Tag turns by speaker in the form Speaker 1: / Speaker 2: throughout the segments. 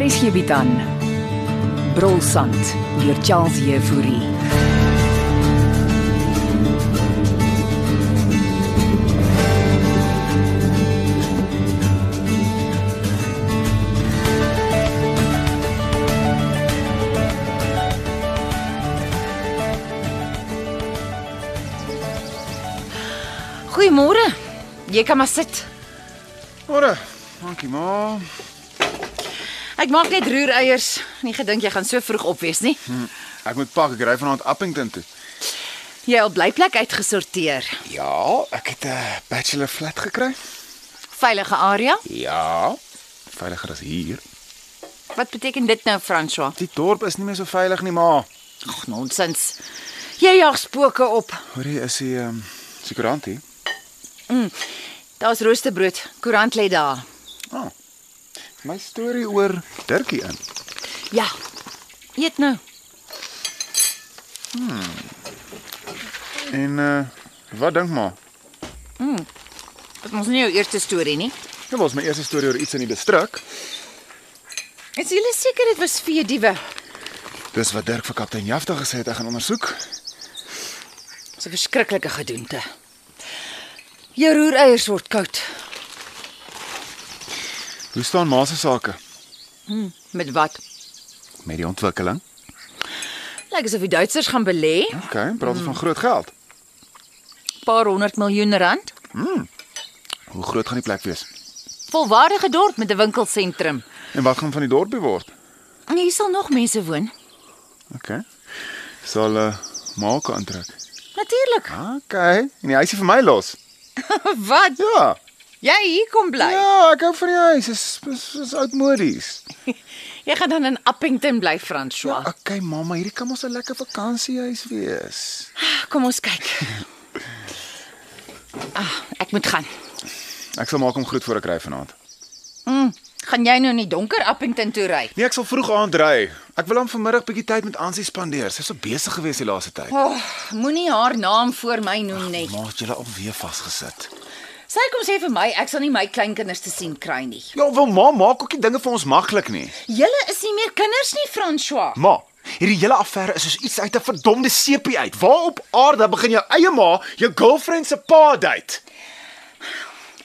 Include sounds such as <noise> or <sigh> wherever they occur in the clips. Speaker 1: Hier is hierby dan. Brolsand deur Charles Jefouri.
Speaker 2: Goeiemôre. Jy kan maar sit.
Speaker 3: Môre. Dankie ma.
Speaker 2: Ek maak net roereiers. Nie gedink jy gaan so vroeg op wees nie.
Speaker 3: Ek moet pak, ek ry vanaand Appington toe.
Speaker 2: Jy het blyplek uitgesorteer.
Speaker 3: Ja, ek het 'n bachelor flat gekry.
Speaker 2: Veilige area.
Speaker 3: Ja. Veiliger as hier.
Speaker 2: Wat beteken dit nou, François?
Speaker 3: Die dorp is nie meer so veilig nie, ma.
Speaker 2: Ag, nonsens. Jy jag spooke op.
Speaker 3: Hoor jy is die ehm um, sekurant hier?
Speaker 2: Mm. Daar's roosterbrood. Koerant lê daar.
Speaker 3: Ah. Oh, my storie oor Dirkie in.
Speaker 2: Ja. Eet nou.
Speaker 3: En uh wat dink ma?
Speaker 2: Dit mos nie jou eerste storie nie.
Speaker 3: Dit was my eerste storie oor iets in die distrik.
Speaker 2: Is jy seker dit was veediewe?
Speaker 3: Dis wat Dirk vir kaptein Jafta gesê het, ek gaan ondersoek.
Speaker 2: Dis 'n verskriklike gedoente. Jou roereiers word koud.
Speaker 3: Hoe staan ma se sake
Speaker 2: Met wat?
Speaker 3: met die ontwikkeling?
Speaker 2: Lyk asof die Duitsers gaan belê,
Speaker 3: OK, praat ons van groot geld.
Speaker 2: paar 100 miljoen rand.
Speaker 3: Hoe groot gaan die plek wees?
Speaker 2: Volwaardige dorp met 'n winkelsentrum.
Speaker 3: En wat gaan van die dorpie word?
Speaker 2: En hier sal nog mense woon.
Speaker 3: OK. Sal uh, ma kan trek.
Speaker 2: Natuurlik.
Speaker 3: OK. En die huisie vir my los.
Speaker 2: <laughs> Wat?
Speaker 3: Ja.
Speaker 2: Jy hier kom bly.
Speaker 3: Ja, ek hou van die huis. Is is, is oudmodies.
Speaker 2: Jy gaan dan in Appington bly, François.
Speaker 3: okay, mamma, hierdie kan mos 'n lekker vakansiehuis wees.
Speaker 2: Kom ons kyk. Ah, ek moet gaan.
Speaker 3: Ek sal maak hom groet voor ek ry vanaand.
Speaker 2: Mm, gaan jy nou in die donker Appington toe ry?
Speaker 3: Nee, ek sal vroeg aand ry. Ek wil hom vanmiddag bietjie tyd met Ansie spandeer. Sy's so besig gewees die laaste tyd.
Speaker 2: Oh, Moenie haar naam voor my noem nie.
Speaker 3: Ma het julle alweer vasgesit.
Speaker 2: Sy kom sê vir my ek sal nie my kleinkinders te sien kry nie.
Speaker 3: Ja, wel ma, maak ook nie dinge vir ons maklik nie.
Speaker 2: Julle is nie meer kinders nie, François.
Speaker 3: Ma, hierdie hele affære is soos iets uit 'n verdomde seepie uit. Waar op aarde begin jou eie ma jou girlfriend se pa date?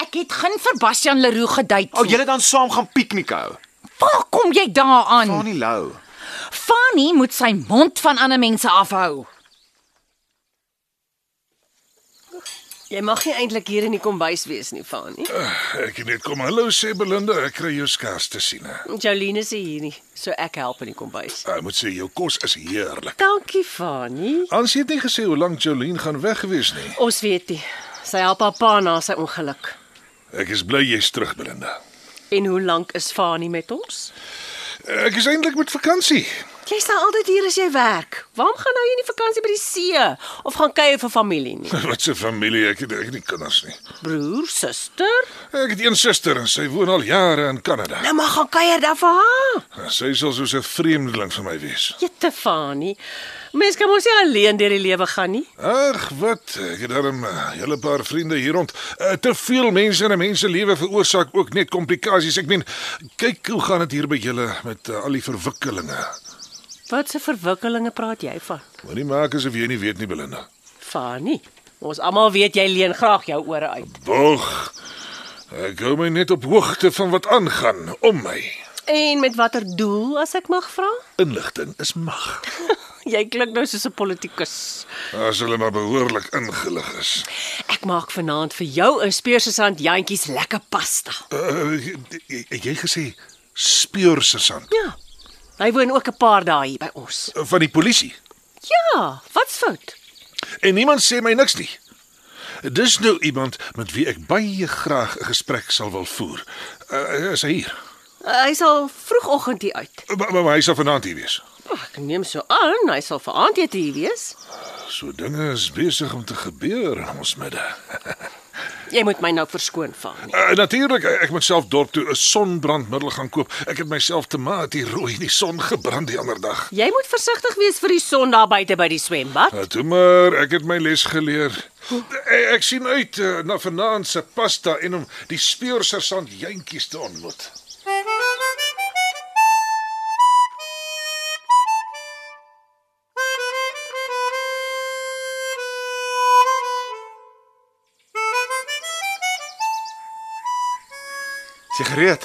Speaker 2: Ek het geen vir Bastian Leroux gedate.
Speaker 3: Ou julle dan saam gaan piknik hou.
Speaker 2: waar kom jy daaraan?
Speaker 3: Tannie Lou.
Speaker 2: Fanny moet sy mond van ander mense afhou.
Speaker 4: Jy mag nie eintlik hier in die kombuis wees nie, Fani.
Speaker 5: Ek het net kom hallo sê Belinda, ek kry jou skars te sien. hè.
Speaker 4: Jolene is hier nie, so ek help in die kombuis.
Speaker 5: Ek moet sê jou kos is heerlik.
Speaker 4: Dankie, Fani.
Speaker 5: Ons het nie gesê hoe lank Jolene gaan weg gewees nie.
Speaker 4: Ons weet nie. Sy help haar pa na sy ongeluk.
Speaker 5: Ek is bly jy's terug Belinda.
Speaker 4: En hoe lank is Fani met ons?
Speaker 5: Ek is eintlik met vakansie.
Speaker 4: Jy staan altyd hier as jy werk. Waarom gaan nou jy nie vakansie by die see of gaan kuier vir familie nie?
Speaker 5: <laughs> Wat 'n familie, ek het ek het nie kinders nie.
Speaker 4: Broer, suster,
Speaker 5: Ek het een suster en sy woon al jare in Kanada.
Speaker 4: nou maar gaan kuier daar vir haar.
Speaker 5: Sy sal soos 'n vreemdeling vir my wees.
Speaker 4: Jette Fani. Mens kan mos nie alleen deur die lewe gaan nie.
Speaker 5: Ag, wat? Ek het darm 'n hele paar vriende hier rond. Eh, Te veel mense in 'n mens se lewe veroorsaak ook net komplikasies. Ek meen, kyk hoe gaan dit hier by julle met uh, al die verwikkelinge.
Speaker 4: Wat se verwikkelinge praat jy van?
Speaker 5: Moenie maak asof jy nie weet nie, Belinda.
Speaker 4: Fani. Ons almal weet jy leen graag jou ore uit.
Speaker 5: Wag. Ek hou my net op hoogte van wat aangaan om my.
Speaker 4: En met watter doel as ek mag vra?
Speaker 5: Inligting is mag.
Speaker 4: Jy klink nou soos 'n politikus.
Speaker 5: As hulle maar behoorlik ingelig is.
Speaker 4: Ek maak vanaand vir jou 'n speursesand jantjies lekker pasta.
Speaker 5: Uh, jy, jy gesê speur sergeant
Speaker 4: Ja. Hy woon ook 'n paar dae hier by ons.
Speaker 5: van die polisie
Speaker 4: Ja, wat's fout?
Speaker 5: en niemand sê my niks nie. Dis nou iemand met wie ek baie graag 'n gesprek sal wil voer. Uh, is hy hier?
Speaker 4: Uh, hy sal vroegoggend hier uit.
Speaker 5: Maar, maar hy sal vanaand hier wees.
Speaker 4: Oh, ek neem so aan hy sal vir aandete hier wees.
Speaker 5: So dinge is besig om te gebeur in ons midde.
Speaker 4: Jy moet my nou verskoon van. nie.
Speaker 5: Uh, Natuurlik, ek moet self dorp toe 'n sonbrandmiddel gaan koop. Ek het myself te maat hier rooi in die son gebrand die ander dag.
Speaker 4: Jy moet versigtig wees vir die son daar buite by die swembad.
Speaker 5: Uh, toe maar, ek het my les geleer. Ek, ek sien uit uh, na vanaand se pasta en om die speursersant jentjies te ontmoet.
Speaker 3: Is jy gereed?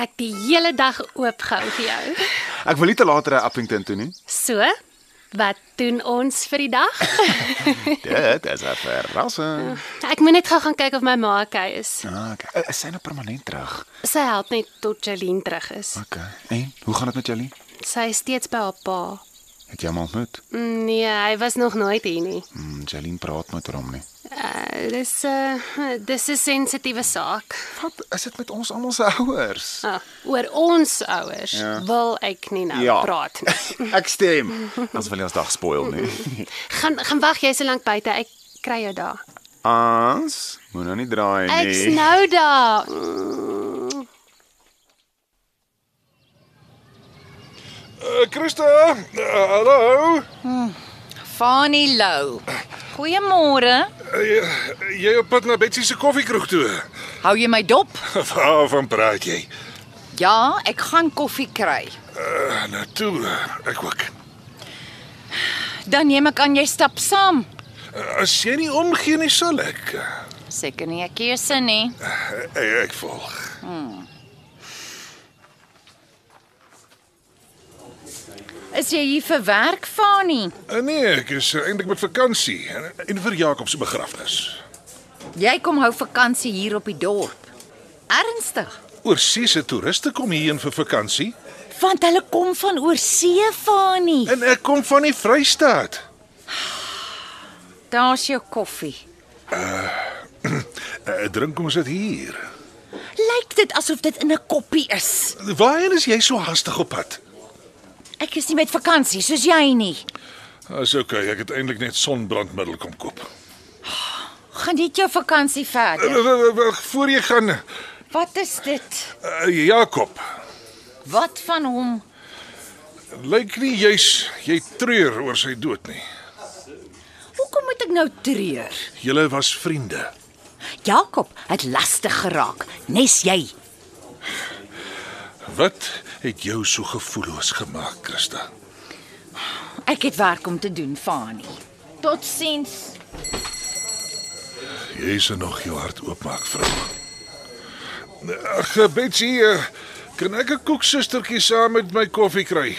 Speaker 6: Ek die hele dag oop gehou vir jou.
Speaker 3: Ek wil nie te laat ry Appington toe <laughs> nie.
Speaker 6: So, wat doen ons vir die <laughs> dag?
Speaker 3: Dit is 'n verrassing.
Speaker 6: ek moet net gou gaan kyk of my ma okay is.
Speaker 3: Ah, okay. Is sy nou permanent terug?
Speaker 6: Sy help net tot Jolene terug is.
Speaker 3: Okay. En hoe gaan dit met Jolien?
Speaker 6: Sy is steeds by haar pa.
Speaker 3: Het jy hom ontmoet?
Speaker 6: Nee, hy was nog nooit hier nie.
Speaker 3: Mm, Jolien praat met hom nie.
Speaker 6: Uh, dis 'n uh, dis 'n sensitiewe saak.
Speaker 3: Wat is dit met ons almal se ouers? <laughs>
Speaker 6: Ah, oor ons ouers ja. wil ek nie nou ja. praat <laughs> nie.
Speaker 3: <laughs> ek
Speaker 6: <laughs>
Speaker 3: stem. Ons wil nie ons dag spoil nie.
Speaker 6: Gaan gaan wag jy so lank buite. Ek kry jou daar.
Speaker 3: Ons moet nou nie draai nie.
Speaker 6: Ek's nou daar.
Speaker 5: Uh, Christa, uh, hallo.
Speaker 2: Fani Lou. Goeiemôre.
Speaker 5: Uh, jy, jy op pad na Betsy se koffiekroeg toe. <laughs>
Speaker 2: Hou jy my dop?
Speaker 5: Waarvan praat jy?
Speaker 2: Ja, ek gaan koffie kry.
Speaker 5: Uh, nou toe, ek ook.
Speaker 2: Dan neem ek aan jy stap saam.
Speaker 5: Uh, As jy nie omgee nie, sal ek. Uh,
Speaker 2: Seker nie 'n keuse nie.
Speaker 5: Ek volg.
Speaker 2: Is jy hier vir werk, Fani?
Speaker 5: Uh, nee, ek is uh, eintlik met vakansie en, en vir Jakob se begrafnis.
Speaker 2: Jy kom hou vakansie hier op die dorp. Ernstig?
Speaker 5: Oorsee se toeriste kom hierheen vir vakansie
Speaker 2: Want hulle kom van oorsee, Fani.
Speaker 5: en ek kom van die Vrystaat.
Speaker 2: Daar's jou koffie.
Speaker 5: Uh, drink ons dit hier.
Speaker 2: Lyk dit asof dit in 'n koppie is.
Speaker 5: Waarheen is jy so haastig op pad?
Speaker 2: Ek is nie met vakansie soos jy nie.
Speaker 5: Dis okay, ek het eintlik net sonbrandmiddel kom koop.
Speaker 2: Geniet jou vakansie verder.
Speaker 5: Uh, w- w- w- Voor jy gaan, uh,
Speaker 2: Wat is dit?
Speaker 5: Jakob,
Speaker 2: Wat van hom?
Speaker 5: lyk nie jy's jy treur oor sy dood nie.
Speaker 2: Hoekom moet ek nou treur?
Speaker 5: Julle was vriende.
Speaker 2: Jakob het lastig geraak, nes jy.
Speaker 5: Wat het jou so gevoelloos gemaak, Christa?
Speaker 2: Ek het werk om te doen, Fani. Totsiens.
Speaker 5: Jy is nog jou hart oopmaak, vrou. Ag, Betsy, eh, kan ek 'n koeksustertjie saam met my koffie kry?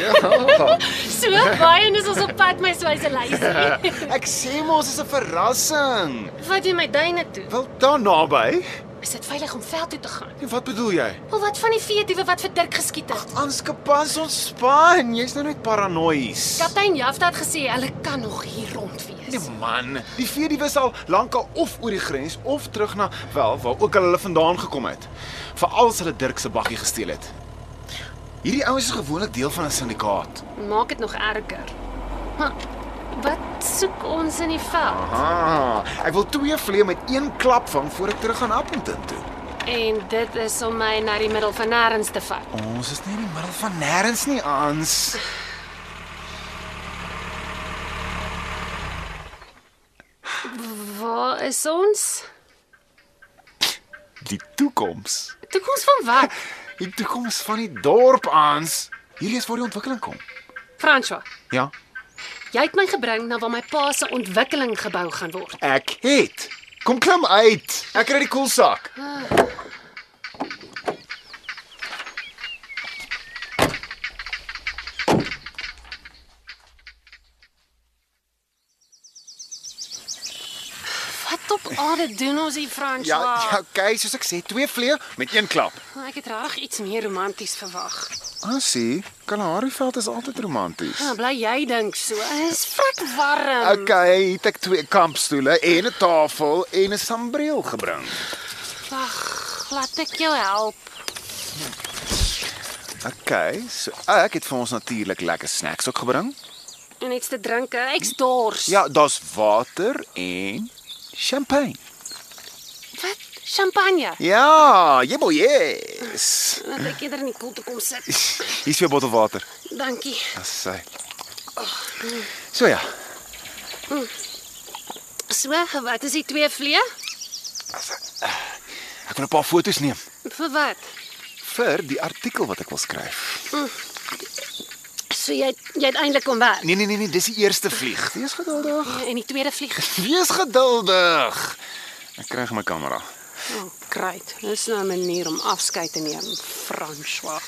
Speaker 6: So baie en is ons op pad my swyse <laughs> lysie.
Speaker 3: Ek sê mos is 'n verrassing.
Speaker 6: Wat doen my duine toe?
Speaker 3: Wel daar naby.
Speaker 6: Is dit veilig om veld toe te gaan?
Speaker 3: Wat bedoel jy?
Speaker 6: Of wat van die veeduwe wat vir Dirk geskiet het?
Speaker 3: Aanskapas ontspan. Jy's nou net paranoïes.
Speaker 6: Kaptein Jafta het gesê hulle kan nog hier rond wees.
Speaker 3: Nee man, die vee die was al lankal of oor die grens of terug na wel waar ook al hulle vandaan gekom het. Veral as hulle Dirk se baggie gesteel het. Hierdie ouens is gewoonlik deel van 'n syndikaat.
Speaker 6: Maak dit nog erger. Maar wat soek ons in die veld?
Speaker 3: Ah, ek wil twee vleie met een klap vang voor ek terug gaan Appington toe.
Speaker 6: En dit is om my na die middel van nêrens te vat.
Speaker 3: Ons is nie in die middel van nêrens nie, Ans.
Speaker 6: Waar is ons?
Speaker 3: Die toekoms.
Speaker 6: Toekoms van wat?
Speaker 3: Die toekoms van die dorp, Ans. Hierdie is waar die ontwikkeling kom.
Speaker 6: François,
Speaker 3: Ja,
Speaker 6: jy het my gebring na waar my pa se ontwikkeling gebou gaan word.
Speaker 3: ek het. Kom klim uit. Ek kry die koelsak.
Speaker 6: Wat op Oh, dit doen ons hier,
Speaker 3: Ja,
Speaker 6: François.
Speaker 3: ja, okay, soos ek sê, twee vleie met een klap.
Speaker 6: Ek het regtig iets meer romanties verwag.
Speaker 3: Asie, Kalahari-veld is altyd romanties.
Speaker 6: Nou, bly jy dink so. Dit is frik warm.
Speaker 3: Okay, hier het ek twee kampstoele en 'n tafel en 'n sambreel gebring.
Speaker 6: Wag, laat ek jou help.
Speaker 3: Okay, so ek het vir ons natuurlik lekker snacks ook gebring.
Speaker 6: En iets te drink. Ek's dors.
Speaker 3: Ja, daar's water en champagne.
Speaker 6: Wat? Champagne.
Speaker 3: Ja, jebo, yes.
Speaker 6: Laat ek eerder in die koelte kom sit.
Speaker 3: Hier's vir 'n bottel water.
Speaker 6: Dankie.
Speaker 3: Dis sy. So ja,
Speaker 6: So, wat is die twee vlee?
Speaker 3: ek wil 'n paar foto's neem
Speaker 6: Vir wat?
Speaker 3: vir die artikel wat ek wil skryf.
Speaker 6: So jy jy het eintlik kom werk. Ja,
Speaker 3: Nee nee nee nee, dis die eerste vlieg. Wees geduldig.
Speaker 6: En die tweede vlieg.
Speaker 3: Wees geduldig. Ek kry my kamera.
Speaker 6: Oh, great. Dis nou 'n manier om afskeid te neem, François.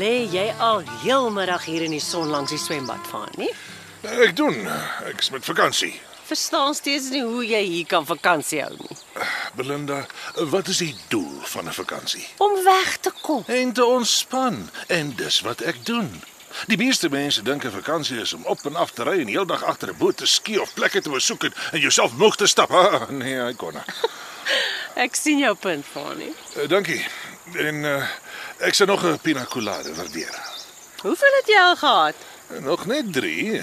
Speaker 4: Lê jy al heelmiddag hier in die son langs die swembad van, nie?
Speaker 5: Ek doen. Ek's met vakansie.
Speaker 4: Verstaan steeds nie hoe jy hier kan vakansie hou nie.
Speaker 5: Belinda, wat is die doel van 'n vakansie?
Speaker 4: Om weg te kom.
Speaker 5: En te ontspan en dis wat ek doen. Die meeste mense dink 'n vakansie is om op en af te ry en heeldag agter 'n boot te ski of plekke te besoek en, en jouself moeg te stap. <laughs> Ah, nee, ek kon nie.
Speaker 4: Ek sien jou punt, Fanie.
Speaker 5: Eh, Dankie. En uh, ek sal nog 'n pina colada waardeer.
Speaker 4: Hoeveel het jy al gehad?
Speaker 5: Nog net 3.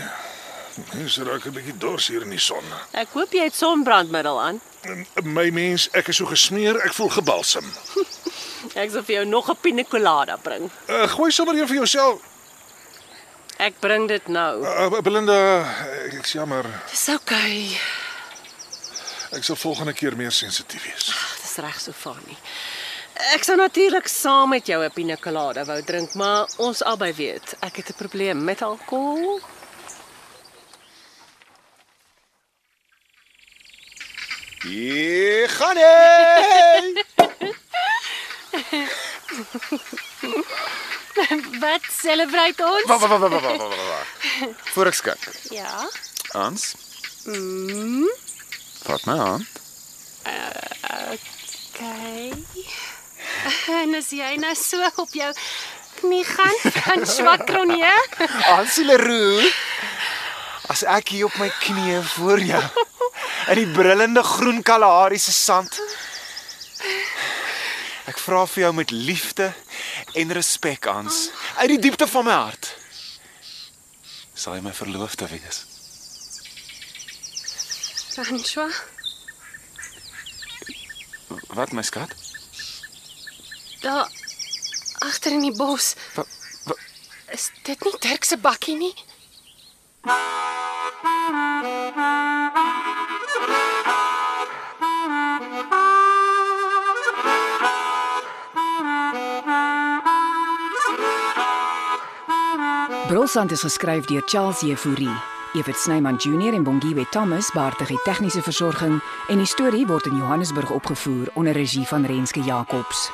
Speaker 5: Mense raak 'n bietjie dors hier in die son.
Speaker 4: Ek hoop jy het sonbrandmiddel aan.
Speaker 5: En My mens, ek is so gesmeer, ek voel gebalsem.
Speaker 4: Ek sal vir jou nog 'n pina colada bring.
Speaker 5: Uh, gooi sommer een vir jouself.
Speaker 4: Ek bring dit nou.
Speaker 5: Uh, Belinda, eh, ek ek's jammer.
Speaker 4: Dis oukei. Okay.
Speaker 5: Ek sal volgende keer meer sensitief wees.
Speaker 4: Dis reg so, Fanie. Ek sou natuurlik saam met jou 'n pina colada wou drink, maar ons albei weet, ek het 'n probleem met alkohol.
Speaker 3: Hier gaan hy.
Speaker 6: Wat celebrate ons?
Speaker 3: <laughs> Wag wag wag wag wag wag. Voor ek skink.
Speaker 6: Ja.
Speaker 3: Hans? Mm. Vat my hand.
Speaker 6: Okay. En as jy nou so op jou knie gaan, François Cronje,
Speaker 3: Hansie Leroux. As ek hier op my knieë voor jou in die brullende groen Kalahari se sand. Ek vra vir jou met liefde en respek, Hans, uit die diepte van my hart. Sal jy my verloofde wees?
Speaker 6: François,
Speaker 3: Wat my skat?
Speaker 6: daar agter in die bos.
Speaker 3: Wat wat
Speaker 6: Is dit nie Dirk se bakkie nie?
Speaker 1: Brolsand is geskryf deur Charles Jefouri. Evert Snyman Junior en Bongwe Thomas baartig die tegniese versorging en die storie word in Johannesburg opgevoer onder regie van Renske Jacobs.